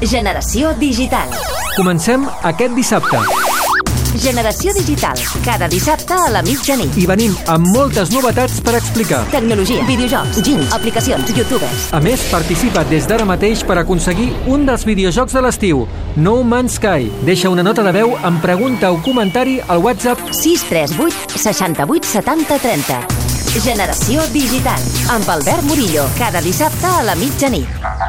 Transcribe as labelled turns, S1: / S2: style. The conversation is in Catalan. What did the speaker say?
S1: Generació digital.
S2: Comencem aquest dissabte
S1: Generació digital. Cada dissabte a la mitjanit.
S2: i venim amb moltes novetats per explicar.
S1: Tecnologia, videojocs, gins, aplicacions, youtubers.
S2: A més, participa des d'ara mateix per aconseguir un dels videojocs de l'estiu, No Man's Sky. Deixa una nota de veu amb pregunta o comentari al WhatsApp.
S1: 638 68 70 30. Generació digital. Amb Albert Murillo. Cada dissabte a la mitjanit.